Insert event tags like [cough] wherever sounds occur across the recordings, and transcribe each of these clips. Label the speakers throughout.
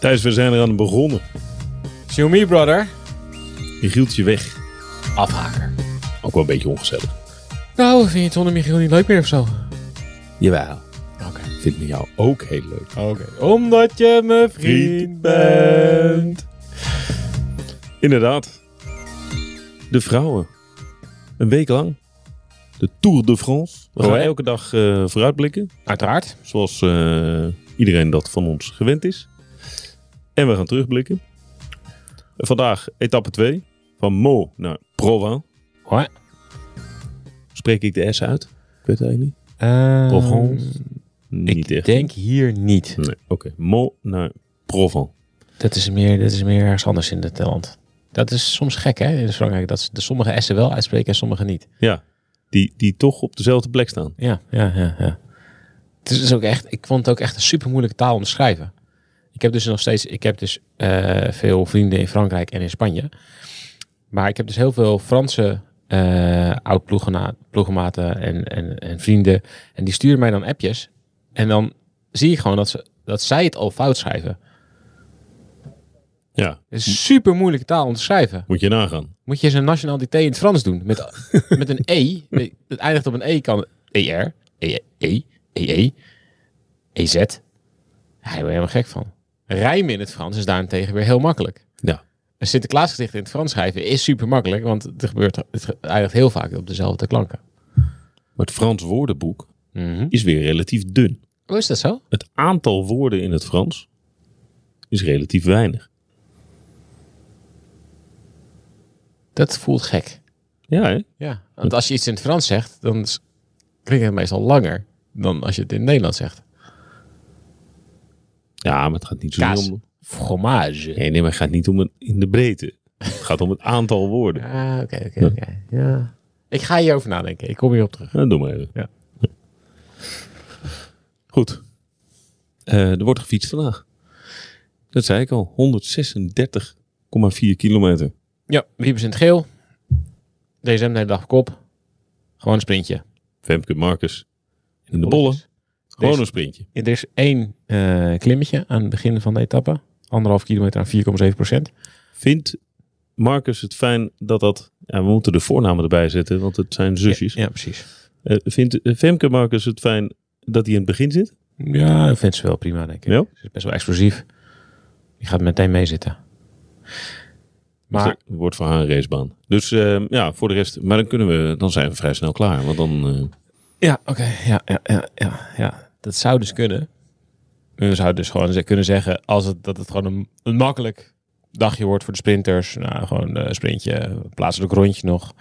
Speaker 1: Thijs, we zijn eraan begonnen.
Speaker 2: Show me, brother.
Speaker 1: Michieltje weg.
Speaker 2: Afhaker.
Speaker 1: Ook wel een beetje ongezellig.
Speaker 2: Nou, vind je het zonder Michiel niet leuk meer of zo? Oké.
Speaker 1: Jawel. Vindt me jou ook heel leuk.
Speaker 2: Oké. Omdat je mijn vriend bent.
Speaker 1: Inderdaad. De vrouwen. Een week lang. De Tour de France. We gaan
Speaker 2: Oh, hè?
Speaker 1: elke dag eh, vooruitblikken.
Speaker 2: Uiteraard.
Speaker 1: Zoals eh, iedereen dat van ons gewend is. En we gaan terugblikken. Vandaag etappe 2. Van Mo naar Provence.
Speaker 2: Hoi.
Speaker 1: Spreek ik de S uit? Ik weet het eigenlijk niet. Provence? Niet
Speaker 2: ik
Speaker 1: echt.
Speaker 2: Eh, denk hier niet.
Speaker 1: Nee, oké. Mo naar Provence.
Speaker 2: Dat is, meer, dat is meer ergens anders in dit land. Dat is soms gek, hè? In Frankrijk. Dat ze de sommige S'en wel uitspreken en sommige niet.
Speaker 1: Ja, die, die toch op dezelfde plek staan.
Speaker 2: Ja, ja, ja. ja. Het is dus ook echt, ik vond het ook echt een super moeilijke taal om te schrijven. Ik heb dus nog steeds, ik heb dus eh, veel vrienden in Frankrijk en in Spanje. Maar ik heb dus heel veel Franse eh oud-ploegenmaten en, en, en vrienden. En die sturen mij dan appjes. En dan zie ik gewoon dat, ze, dat zij het al fout schrijven.
Speaker 1: Ja,
Speaker 2: Het is super moeilijke taal om te schrijven.
Speaker 1: moet je nagaan.
Speaker 2: Moet je eens een nationaliteit in het Frans doen. Met, met een E. Met- Het eindigt op een E. Kan ER. EE. EE. EZ. E, Hij wordt helemaal gek van. Rijmen in het Frans is daarentegen weer heel makkelijk.
Speaker 1: Ja.
Speaker 2: Een Sinterklaasgedicht in het Frans schrijven is super makkelijk. Want het, gebeurt, het eindigt heel vaak op dezelfde klanken.
Speaker 1: Maar het Frans woordenboek is weer relatief dun.
Speaker 2: Hoe Oh, is dat zo?
Speaker 1: Het aantal woorden in het Frans is relatief weinig.
Speaker 2: Dat voelt gek.
Speaker 1: Ja, hè?
Speaker 2: Ja. Want als je iets in het Frans zegt, dan is- klinkt het meestal langer dan als je het in het Nederlands zegt.
Speaker 1: Ja, maar het gaat niet zo
Speaker 2: Kaas.
Speaker 1: om...
Speaker 2: Fromage.
Speaker 1: Nee, nee, maar het gaat niet om het in de breedte. Het gaat om het aantal woorden.
Speaker 2: Ah, oké, oké, oké. Ja. Ik ga hierover nadenken. Ik kom hierop terug.
Speaker 1: Nou, doe maar even.
Speaker 2: Ja.
Speaker 1: Goed. Eh, er wordt gefietst vandaag. Dat zei ik al. 136,4 kilometer.
Speaker 2: Ja, Wiebes in het geel. DSM de hele dag op kop. Gewoon een sprintje.
Speaker 1: Femke Marcus in de bollen. Gewoon een sprintje.
Speaker 2: Er is één eh, klimmetje aan het begin van de etappe. Anderhalf kilometer aan 4,7 procent.
Speaker 1: Vindt Marcus het fijn dat dat... Ja, we moeten de voornamen erbij zetten, want het zijn zusjes.
Speaker 2: Ja, precies.
Speaker 1: Eh, vindt eh, Femke Marcus het fijn dat hij in het begin zit?
Speaker 2: Ja, ik vind ze wel prima, denk ik.
Speaker 1: Ja?
Speaker 2: Ze is best wel explosief. Die gaat meteen meezitten. Maar
Speaker 1: Dus dat wordt voor haar een racebaan. Dus eh, ja, voor de rest... Maar dan, kunnen we, dan zijn we vrij snel klaar. Want dan... eh,
Speaker 2: Ja, oké. Ja, ja, ja, ja, ja. Dat zou dus kunnen. We zouden dus gewoon ze- kunnen zeggen als het, dat het gewoon een, een makkelijk dagje wordt voor de sprinters. Nou, gewoon eh, een sprintje, plaatselijk rondje nog.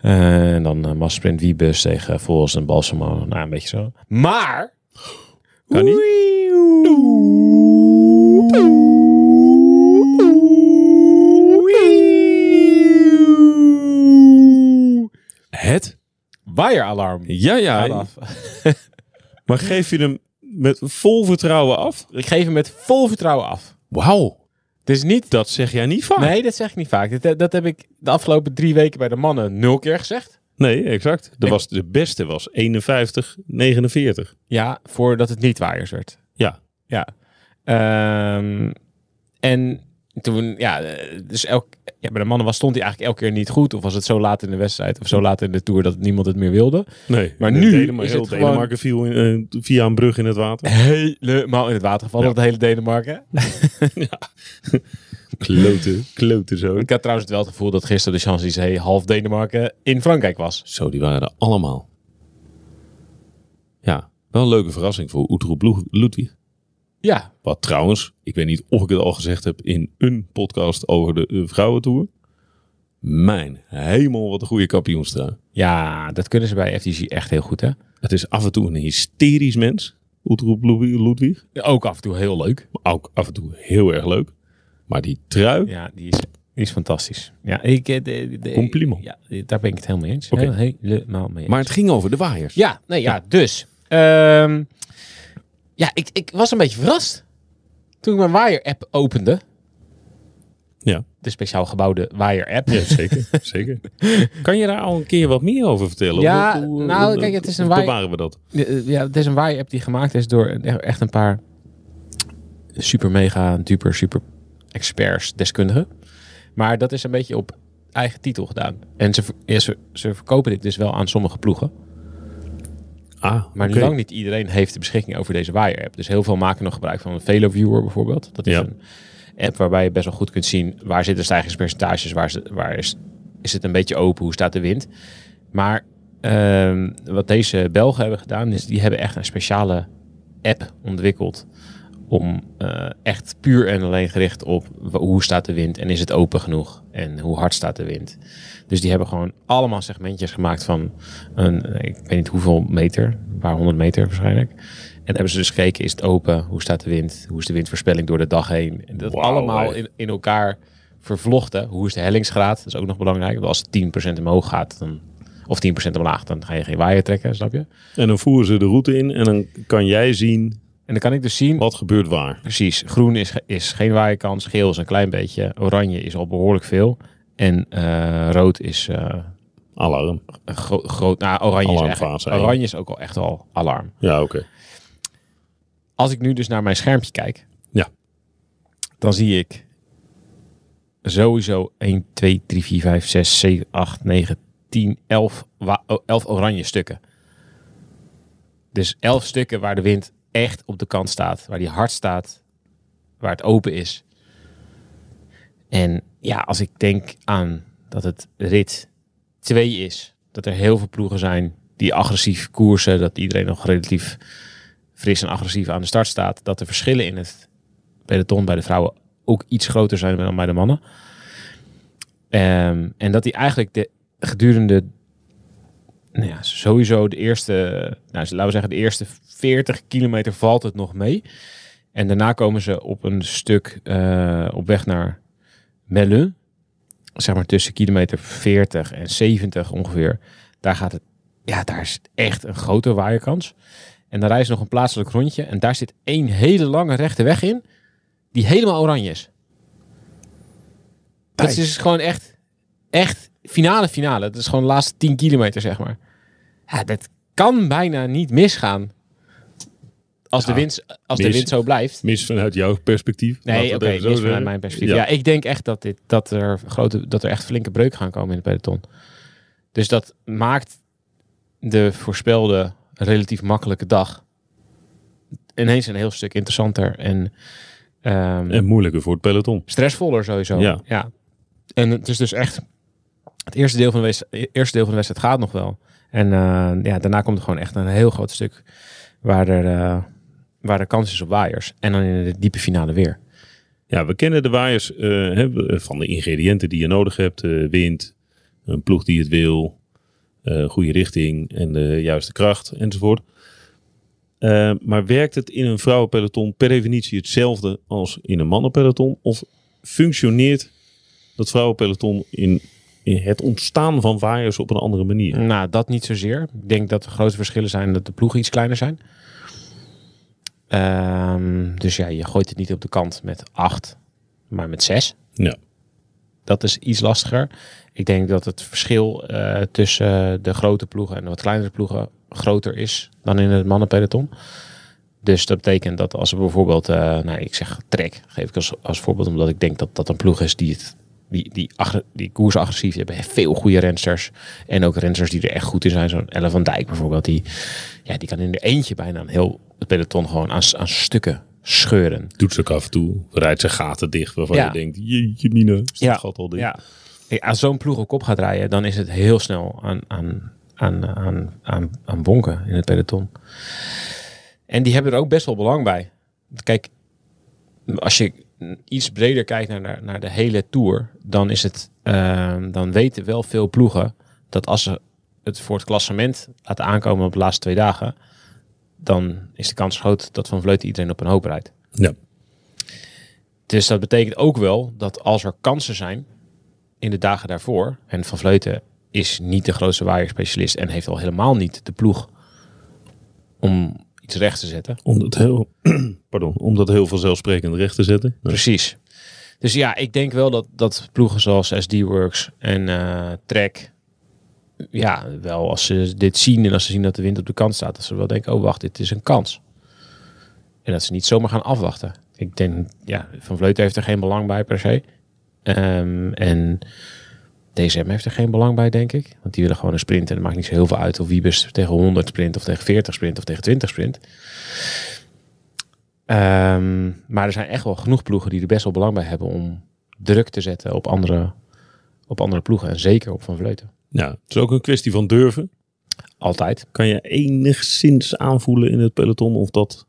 Speaker 2: Eh, en dan eh massasprint Wiebus tegen Vos en Balsamo. Nou, een beetje zo. Maar...
Speaker 1: Kan niet.
Speaker 2: Oei, oei.
Speaker 1: het?
Speaker 2: Waaieralarm.
Speaker 1: Ja, ja.
Speaker 2: Gaat af.
Speaker 1: Maar geef je hem met vol vertrouwen af?
Speaker 2: Ik geef hem met vol vertrouwen af.
Speaker 1: Wauw.
Speaker 2: Het is Dus niet...
Speaker 1: Dat zeg jij niet vaak.
Speaker 2: Nee, dat zeg ik niet vaak. Dat, dat heb ik de afgelopen drie weken bij de mannen nul keer gezegd.
Speaker 1: Nee, exact. De,
Speaker 2: Ik-
Speaker 1: was, de beste was 51, 49.
Speaker 2: Ja, voordat het niet waaiers werd.
Speaker 1: Ja.
Speaker 2: Ja. Ehm, en toen, ja, eh, dus elk, ja, bij de mannen was, stond hij eigenlijk elke keer niet goed. Of was het zo laat in de wedstrijd of zo laat in de Tour dat niemand het meer wilde.
Speaker 1: Nee.
Speaker 2: Maar
Speaker 1: De
Speaker 2: nu
Speaker 1: Denemarken-
Speaker 2: is
Speaker 1: heel
Speaker 2: het gewoon-
Speaker 1: Denemarken viel in, eh, via een brug in het [laughs] water.
Speaker 2: Helemaal in het water gevallen, dat hele Denemarken.
Speaker 1: Kloten. Kloten zo.
Speaker 2: Ik had trouwens wel het gevoel dat gisteren de Champs-Élysées half Denemarken in Frankrijk was.
Speaker 1: Zo, die waren er allemaal. Ja. Wel een leuke verrassing voor Oetroep Loe- Ludwig.
Speaker 2: Ja,
Speaker 1: Wat trouwens, ik weet niet of ik het al gezegd heb in een podcast over de eh, vrouwentour. Mijn hemel, wat een goede kampioenstrui.
Speaker 2: ja dat kunnen ze bij FTG echt heel goed, hè?
Speaker 1: Het is af en toe een hysterisch mens, Oetroep Loe- Ludwig.
Speaker 2: Ook af en toe heel leuk.
Speaker 1: Maar ook af en toe heel erg leuk. Maar die trui,
Speaker 2: Ja, die is, die is fantastisch. Ja, ik, eh, de, de-
Speaker 1: Compliment.
Speaker 2: Ja, daar ben ik het helemaal mee eens.
Speaker 1: Oké.
Speaker 2: Heel- Helemaal mee eens.
Speaker 1: Maar het ging over de waaiers.
Speaker 2: Ja, nee, ja, dus. ehm, ja, ik, ik was een beetje verrast. Toen ik mijn waaier-app opende,
Speaker 1: Ja.
Speaker 2: de speciaal gebouwde Wire app.
Speaker 1: Ja, zeker.
Speaker 2: [laughs]
Speaker 1: zeker. Kan je daar al een keer wat meer over vertellen?
Speaker 2: Ja,
Speaker 1: Hoe- hoe-
Speaker 2: nou,
Speaker 1: hoe-
Speaker 2: kijk, het is
Speaker 1: hoe
Speaker 2: een waai-
Speaker 1: bewaren we dat?
Speaker 2: Ja, het is een Wire app die gemaakt is door e- echt een paar super mega, duper, super experts, deskundigen. Maar dat is een beetje op eigen titel gedaan. En ze, ver- ja, ze, ze verkopen dit dus wel aan sommige ploegen.
Speaker 1: Ah,
Speaker 2: Maar
Speaker 1: oké.
Speaker 2: lang niet iedereen heeft de beschikking over deze wire app. Dus heel veel maken nog gebruik van een VeloViewer bijvoorbeeld. Dat is
Speaker 1: Ja.
Speaker 2: een app waarbij je best wel goed kunt zien waar zitten stijgingspercentages, waar, ze- waar is, is het een beetje open, hoe staat de wind. Maar ehm, wat deze Belgen hebben gedaan, is die hebben echt een speciale app ontwikkeld om eh, echt puur en alleen gericht op wa- hoe staat de wind en is het open genoeg en hoe hard staat de wind. Dus die hebben gewoon allemaal segmentjes gemaakt van een, eh, ik weet niet hoeveel meter, een paar honderd meter waarschijnlijk. En hebben ze dus gekeken, is het open, hoe staat de wind, hoe is de windvoorspelling door de dag heen. En dat
Speaker 1: Wauw,
Speaker 2: allemaal
Speaker 1: hè.
Speaker 2: in, in elkaar vervlochten. Hoe is de hellingsgraad, dat is ook nog belangrijk. Want als het 10% omhoog gaat, dan, of 10% omlaag, dan ga je geen waaier trekken, snap je?
Speaker 1: En dan voeren ze de route in en dan kan jij zien
Speaker 2: En dan kan ik dus zien
Speaker 1: wat gebeurt waar.
Speaker 2: Precies. Groen is, ge- is geen waaierkans. Geel is een klein beetje. Oranje is al behoorlijk veel. En eh, rood is eh,
Speaker 1: Alarm.
Speaker 2: een gro- groot. Nou, oranje is, echt,
Speaker 1: Alarmfase, ja.
Speaker 2: oranje is ook al echt al alarm.
Speaker 1: Ja, oké.
Speaker 2: Als ik nu dus naar mijn schermpje kijk,
Speaker 1: Ja.
Speaker 2: dan zie ik sowieso 1, 2, 3, 4, 5, 6, 7, 8, 9, 10, 11, wa- oh, 11 oranje stukken. Dus 11 stukken waar de wind echt op de kant staat, waar die hard staat, waar het open is. En ja, als ik denk aan dat het rit 2 is, dat er heel veel ploegen zijn die agressief koersen, dat iedereen nog relatief fris en agressief aan de start staat, dat de verschillen in het peloton bij de vrouwen ook iets groter zijn dan bij de mannen. Ehm, en dat die eigenlijk de, gedurende, nou ja, sowieso de eerste, nou, laten we zeggen, de eerste 40 kilometer valt het nog mee. En daarna komen ze op een stuk eh, op weg naar Melle. Zeg maar tussen kilometer 40 en 70 ongeveer. Daar gaat het. Ja, daar is echt een grote waaierkans. En dan rijden ze nog een plaatselijk rondje. En daar zit één hele lange rechte weg in. Die helemaal oranje is. Dat is
Speaker 1: Thijs.
Speaker 2: dus gewoon echt. Echt finale, finale. Dat is gewoon de laatste 10 kilometer, zeg maar. Ja, dat kan bijna niet misgaan. Als,
Speaker 1: Ja,
Speaker 2: de, wind, als de
Speaker 1: mis-
Speaker 2: wind zo blijft.
Speaker 1: Mis vanuit jouw perspectief. Laten
Speaker 2: Nee,
Speaker 1: we
Speaker 2: oké,
Speaker 1: het even zo
Speaker 2: mis vanuit
Speaker 1: zeggen.
Speaker 2: mijn perspectief. Ja. ik denk echt dat, dit, dat, er grote, dat er echt flinke breuk gaan komen in het peloton. Dus dat maakt de voorspelde relatief makkelijke dag ineens een heel stuk interessanter en, ehm,
Speaker 1: En moeilijker voor het peloton.
Speaker 2: stressvoller sowieso.
Speaker 1: Ja.
Speaker 2: En het is dus echt, het eerste deel van de wedstrijd, eerste deel van de wedstrijd gaat nog wel. En eh, ja, daarna komt er gewoon echt een heel groot stuk waar er, eh, waar er kans is op waaiers. En dan in de diepe finale weer.
Speaker 1: Ja, we kennen de waaiers eh, hè, van de ingrediënten die je nodig hebt. Eh, wind, een ploeg die het wil, eh, goede richting en de juiste kracht enzovoort. Eh, maar werkt het in een vrouwenpeloton per definitie hetzelfde als in een mannenpeloton? Of functioneert dat vrouwenpeloton in, in het ontstaan van waaiers op een andere manier?
Speaker 2: Nou, dat niet zozeer. Ik denk dat er grote verschillen zijn dat de ploegen iets kleiner zijn. Ehm, dus ja, je gooit het niet op de kant met acht, maar met zes.
Speaker 1: Ja.
Speaker 2: Dat is iets lastiger. Ik denk dat het verschil eh, tussen de grote ploegen en de wat kleinere ploegen groter is dan in het mannenpeloton. Dus dat betekent dat als er bijvoorbeeld, eh, nou ik zeg trek, geef ik als, als voorbeeld, omdat ik denk dat dat een ploeg is die het, die, die, agre- die koersagressief, die hebben veel goede rensters. En ook rensters die er echt goed in zijn, zo'n Ellen van Dijk bijvoorbeeld, die, ja, die kan in de eentje bijna een heel het peloton gewoon aan, s- aan stukken scheuren.
Speaker 1: Doet ze ook af en toe, rijdt ze gaten dicht waarvan
Speaker 2: Ja.
Speaker 1: je denkt, jeetje mina, is dat
Speaker 2: Ja.
Speaker 1: gat al dicht?
Speaker 2: Ja. Kijk, Als zo'n ploeg op kop gaat rijden, dan is het heel snel aan, aan, aan, aan, aan, aan bonken in het peloton. En die hebben er ook best wel belang bij. Kijk, als je iets breder kijkt naar de, naar de hele tour, dan is het, ehm, dan weten wel veel ploegen dat als ze het voor het klassement laten aankomen op de laatste twee dagen, dan is de kans groot dat Van Vleuten iedereen op een hoop rijdt.
Speaker 1: Ja.
Speaker 2: Dus dat betekent ook wel dat als er kansen zijn in de dagen daarvoor, en Van Vleuten is niet de grootste waaierspecialist en heeft al helemaal niet de ploeg om iets recht te zetten.
Speaker 1: [clears throat] Om dat heel, pardon, om dat heel vanzelfsprekend recht te zetten. Nou,
Speaker 2: Precies. Dus ja, ik denk wel dat, dat ploegen zoals SD-Works en eh Trek... Ja, wel als ze dit zien en als ze zien dat de wind op de kant staat... dat ze wel denken, oh wacht, dit is een kans. En dat ze niet zomaar gaan afwachten. Ik denk, ja, Van Vleuten heeft er geen belang bij per se. Ehm, en DSM heeft er geen belang bij, denk ik. Want die willen gewoon een sprint. En het maakt niet zo heel veel uit of Wiebes tegen 100 sprint, of tegen 40 sprint, of tegen 20 sprint. Ehm, maar er zijn echt wel genoeg ploegen die er best wel belang bij hebben om druk te zetten op andere, op andere ploegen. En zeker op Van Vleuten.
Speaker 1: Ja, het is ook een kwestie van durven.
Speaker 2: Altijd.
Speaker 1: Kan je enigszins aanvoelen in het peloton of dat...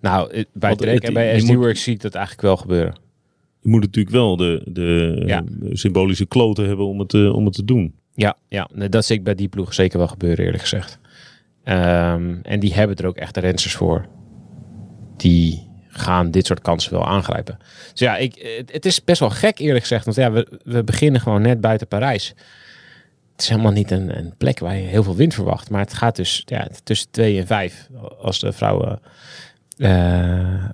Speaker 2: Nou, eh, bij
Speaker 1: Want
Speaker 2: Drake
Speaker 1: het-
Speaker 2: en bij
Speaker 1: je
Speaker 2: SD
Speaker 1: moet-
Speaker 2: Works zie ik dat eigenlijk wel gebeuren.
Speaker 1: Je moet natuurlijk wel de, de
Speaker 2: Ja.
Speaker 1: eh, symbolische kloten hebben om het, eh, om het te doen.
Speaker 2: Ja, ja nee, dat zie ik bij die ploeg zeker wel gebeuren, eerlijk gezegd. Ehm, en die hebben er ook echt de rensers voor. Die gaan dit soort kansen wel aangrijpen. Dus ja, ik, het, het is best wel gek, eerlijk gezegd. Want ja, we, we beginnen gewoon net buiten Parijs. Het is helemaal niet een, een plek waar je heel veel wind verwacht. Maar het gaat dus ja, tussen twee en vijf. Als de vrouwen eh, eh,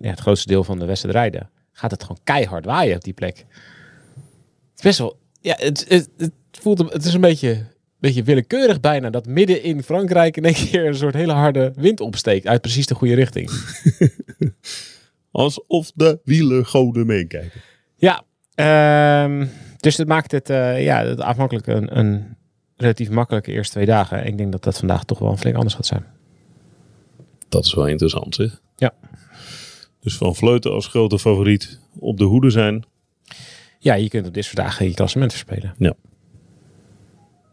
Speaker 2: ja, het grootste deel van de wedstrijd rijden, gaat het gewoon keihard waaien op die plek. Het is best wel. Ja, het, het, het voelt. een- Het is een beetje, beetje willekeurig bijna dat midden in Frankrijk in één [laughs] keer een soort hele harde wind opsteekt uit precies de goede richting.
Speaker 1: Alsof de wielen goden meekijken.
Speaker 2: Ja, ehm, dus dat maakt het, eh ja, het afhankelijk een, een relatief makkelijke eerste twee dagen. En ik denk dat dat vandaag toch wel een flink anders gaat zijn.
Speaker 1: Dat is wel interessant, zeg.
Speaker 2: Ja.
Speaker 1: Dus van Vleuten als grote favoriet op de hoede zijn.
Speaker 2: Ja, je kunt op dit soort dagen je klassement verspelen.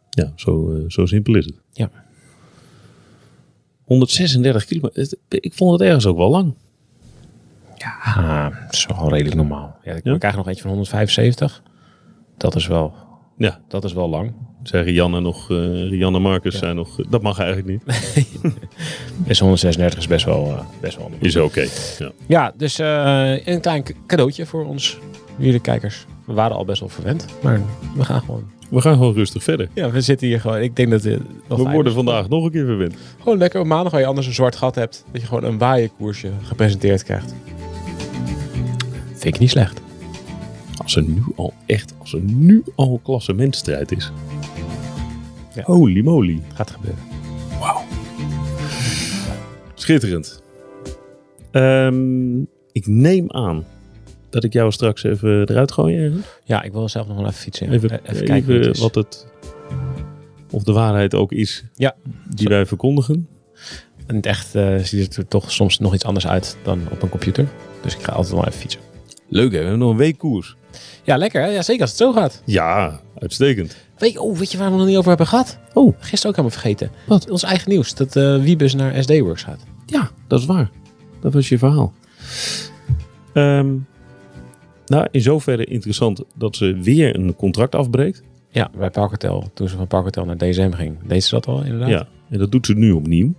Speaker 1: Ja, zo, eh, zo simpel is het.
Speaker 2: Ja.
Speaker 1: 136 kilometer. Het- Ik vond het ergens ook wel lang.
Speaker 2: Ja, Ah, dat is wel redelijk normaal. Ja, we
Speaker 1: Ja?
Speaker 2: krijgen nog eentje van 175. Dat is wel,
Speaker 1: Ja,
Speaker 2: dat is wel lang.
Speaker 1: zijn Rianne nog, eh Rianne Marcus zijn nog, eh, dat mag eigenlijk niet.
Speaker 2: Dus 136 is best wel, eh, best wel normaal.
Speaker 1: Is oké. Ja.
Speaker 2: Ja, dus eh, een klein k- cadeautje voor ons, jullie kijkers. We waren al best wel verwend, maar we gaan gewoon.
Speaker 1: We gaan gewoon rustig verder.
Speaker 2: Ja, we zitten hier gewoon. Ik denk dat we
Speaker 1: We worden vandaag nog een keer verwend.
Speaker 2: Gewoon Oh, lekker op maandag waar je anders een zwart gat hebt. Dat je gewoon een waaierkoersje gepresenteerd krijgt. Vind ik niet slecht.
Speaker 1: Als er nu al echt, als er nu al klassementstrijd is.
Speaker 2: Ja.
Speaker 1: Holy moly.
Speaker 2: Gaat gebeuren.
Speaker 1: Schitterend. Ehm, ik neem aan dat ik jou straks even eruit gooi. ergens.
Speaker 2: Ja, ik wil zelf nog wel even fietsen.
Speaker 1: Even,
Speaker 2: Eh,
Speaker 1: even,
Speaker 2: kijken hoe het is.
Speaker 1: wat het, of de waarheid ook is
Speaker 2: Ja.
Speaker 1: die wij verkondigen.
Speaker 2: In het echt eh, ziet het er toch soms nog iets anders uit dan op een computer. Dus ik ga altijd wel even fietsen.
Speaker 1: Leuk hè, we hebben nog een week koers.
Speaker 2: Ja, lekker hè? Ja, zeker als het zo gaat.
Speaker 1: Ja, uitstekend.
Speaker 2: Weet, oh, weet je waar we het nog niet over hebben gehad?
Speaker 1: Oh.
Speaker 2: Gisteren ook helemaal vergeten.
Speaker 1: Wat?
Speaker 2: Ons eigen nieuws. Dat eh, Wiebes naar SD-Works gaat.
Speaker 1: Ja, dat is waar. Dat was je verhaal. Ehm, nou, in zoverre interessant dat ze weer een contract afbreekt.
Speaker 2: Ja, bij Parkhotel. Toen ze van Parkhotel naar DSM ging. Deed ze dat al inderdaad?
Speaker 1: Ja, en dat doet ze nu opnieuw.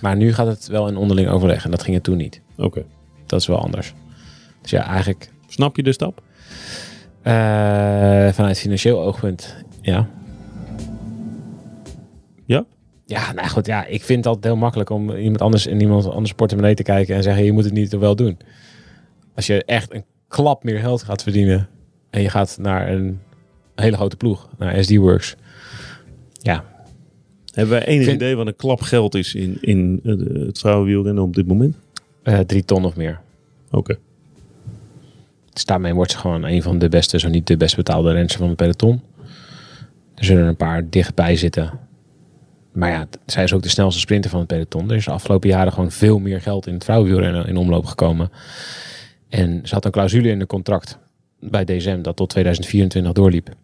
Speaker 2: Maar nu gaat het wel in onderling overleg. En dat ging het toen niet.
Speaker 1: Oké.
Speaker 2: Dat is wel anders. Dus ja, eigenlijk
Speaker 1: Snap je de stap?
Speaker 2: eh, vanuit financieel oogpunt. Ja.
Speaker 1: Ja?
Speaker 2: Ja, nou goed. Ja, ik vind het altijd heel makkelijk om iemand anders in iemand anders portemonnee te kijken. En zeggen, je moet het niet toch wel doen. Als je echt een klap meer geld gaat verdienen. En je gaat naar een hele grote ploeg. Naar SD Works. Ja,
Speaker 1: Hebben wij enig
Speaker 2: vind-
Speaker 1: idee wat een klap geld is in, in eh, het vrouwenwielrennen op dit moment?
Speaker 2: eh, drie ton of meer.
Speaker 1: Oké.
Speaker 2: Dus daarmee wordt ze gewoon een van de beste, zo niet de best betaalde renster van het peloton. Er zullen er een paar dichtbij zitten. Maar ja, t- zij is ook de snelste sprinter van het peloton. Er is de afgelopen jaren gewoon veel meer geld in het vrouwenwielrennen in omloop gekomen. En ze had een clausule in het contract bij DSM dat tot 2024 doorliep. Er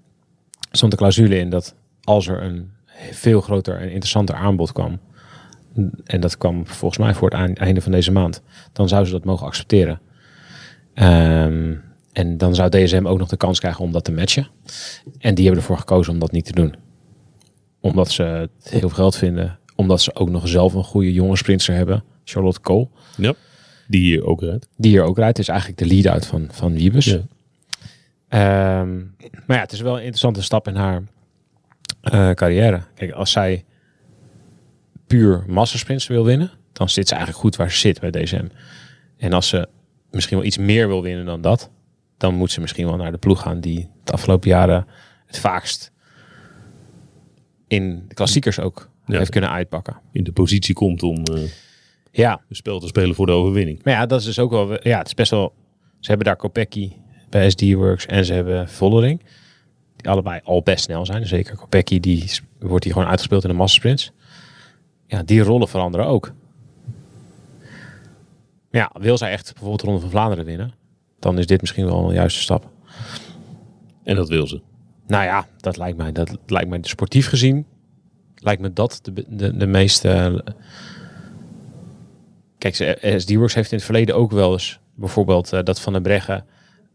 Speaker 2: stond een clausule in dat als er een veel groter en interessanter aanbod kwam... en dat kwam volgens mij voor het aan- einde van deze maand... dan zou ze dat mogen accepteren. Ehm, en dan zou DSM ook nog de kans krijgen om dat te matchen. En die hebben ervoor gekozen om dat niet te doen. Omdat ze het heel veel geld vinden. Omdat ze ook nog zelf een goede jonge sprinter hebben. Charlotte Cole.
Speaker 1: Ja. Die hier ook rijdt.
Speaker 2: Die hier ook rijdt. Is eigenlijk de lead-out van, van Wiebes.
Speaker 1: Ja.
Speaker 2: Ehm, maar ja, het is wel een interessante stap in haar eh, carrière. Kijk, als zij puur massasprints wil winnen, dan zit ze eigenlijk goed waar ze zit bij DSM. En als ze misschien wel iets meer wil winnen dan dat, dan moet ze misschien wel naar de ploeg gaan die de afgelopen jaren het vaakst in de klassiekers ook
Speaker 1: Ja.
Speaker 2: heeft kunnen uitpakken.
Speaker 1: in de positie komt om eh,
Speaker 2: Ja,
Speaker 1: een spel te spelen voor de overwinning.
Speaker 2: maar ja, dat is dus ook wel. Ja, het is best wel. Ze hebben daar Kopecky bij SD Works en ze hebben Vollering. Die allebei al best snel zijn. Dus Zeker Kopecky, die s- wordt hier gewoon uitgespeeld in de massasprints. Ja, die rollen veranderen ook. Ja, wil zij echt bijvoorbeeld de Ronde van Vlaanderen winnen, dan is dit misschien wel een juiste stap.
Speaker 1: En dat wil ze.
Speaker 2: Nou ja, dat lijkt mij, dat lijkt mij sportief gezien, lijkt me dat de, de, de meeste... Kijk, ze- SD-Works heeft in het verleden ook wel eens bijvoorbeeld eh, dat Van den Breggen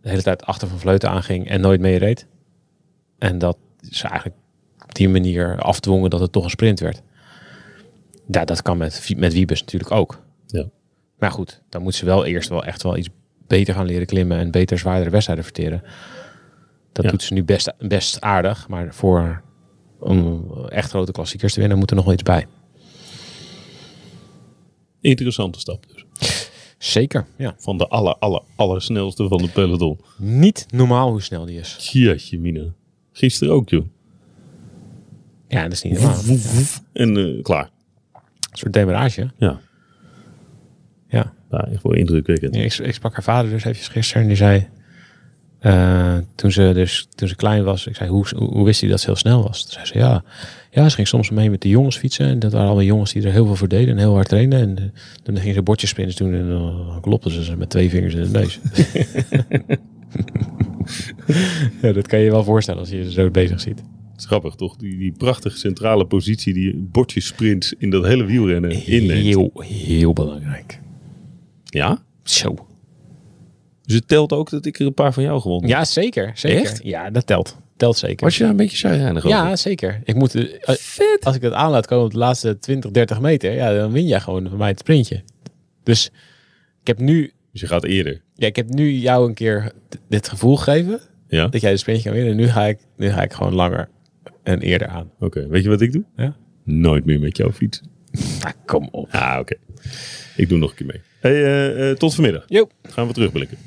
Speaker 2: de hele tijd achter Van Vleuten aanging en nooit meereed. En dat ze eigenlijk op die manier afdwongen dat het toch een sprint werd. Ja, dat kan met, Wie- met Wiebes natuurlijk ook.
Speaker 1: Ja.
Speaker 2: Maar goed, dan moet ze wel eerst wel echt wel iets beter gaan leren klimmen en beter zwaardere wedstrijden verteren. Dat
Speaker 1: Ja.
Speaker 2: doet ze nu best, best aardig, maar voor om echt grote klassiekers te winnen moet er nog wel iets bij.
Speaker 1: Interessante stap dus.
Speaker 2: Zeker, ja.
Speaker 1: Van de aller, aller, allersnelste van de peloton.
Speaker 2: Niet normaal hoe snel die is.
Speaker 1: Jeetje mina. Gisteren ook joh.
Speaker 2: Ja, dat is niet normaal. Een
Speaker 1: Woef, woef. En eh, klaar.
Speaker 2: soort demarage.
Speaker 1: Ja.
Speaker 2: Ja.
Speaker 1: ja, echt wel indrukwekkend.
Speaker 2: Ja, ik, ik sprak haar vader dus even gisteren en die zei... eh, toen, ze dus, toen ze klein was, ik zei, hoe, hoe, hoe wist hij dat ze heel snel was? Toen zei ze, ja, ja, ze ging soms mee met de jongens fietsen. En dat waren allemaal jongens die er heel veel voor deden en heel hard trainden. En eh, dan gingen ze bordjes spinnen doen en dan klopten ze ze met twee vingers in de neus. [laughs] ja, dat kan je je wel voorstellen als je ze zo bezig ziet.
Speaker 1: Het is grappig toch? Die, die prachtige centrale positie die bordjes sprint in dat hele wielrennen inneemt.
Speaker 2: Heel, heel belangrijk.
Speaker 1: Ja?
Speaker 2: Zo.
Speaker 1: Dus het telt ook dat ik er een paar van jou gewonnen heb.
Speaker 2: Ja, zeker. zeker.
Speaker 1: Echt?
Speaker 2: Ja, dat telt. Telt zeker.
Speaker 1: Was je daar een beetje chagrijnig over?
Speaker 2: Ja, zeker. Ik moet, eh, eh, Als ik dat aan laat komen op de laatste 20, 30 meter, ja, dan win jij gewoon van mij het sprintje. Dus ik heb nu,
Speaker 1: Dus je gaat eerder.
Speaker 2: ja, ik heb nu jou een keer d- dit gevoel gegeven
Speaker 1: Ja?
Speaker 2: dat jij het sprintje kan winnen. En nu ga ik, nu ga ik gewoon langer en eerder aan.
Speaker 1: Oké, weet je wat ik doe?
Speaker 2: Ja?
Speaker 1: Nooit meer met jou fiets.
Speaker 2: Ah, kom op.
Speaker 1: Ah, oké. Ik doe nog een keer mee. Hey, eh, eh, tot vanmiddag.
Speaker 2: Joep.
Speaker 1: Gaan we terugblikken.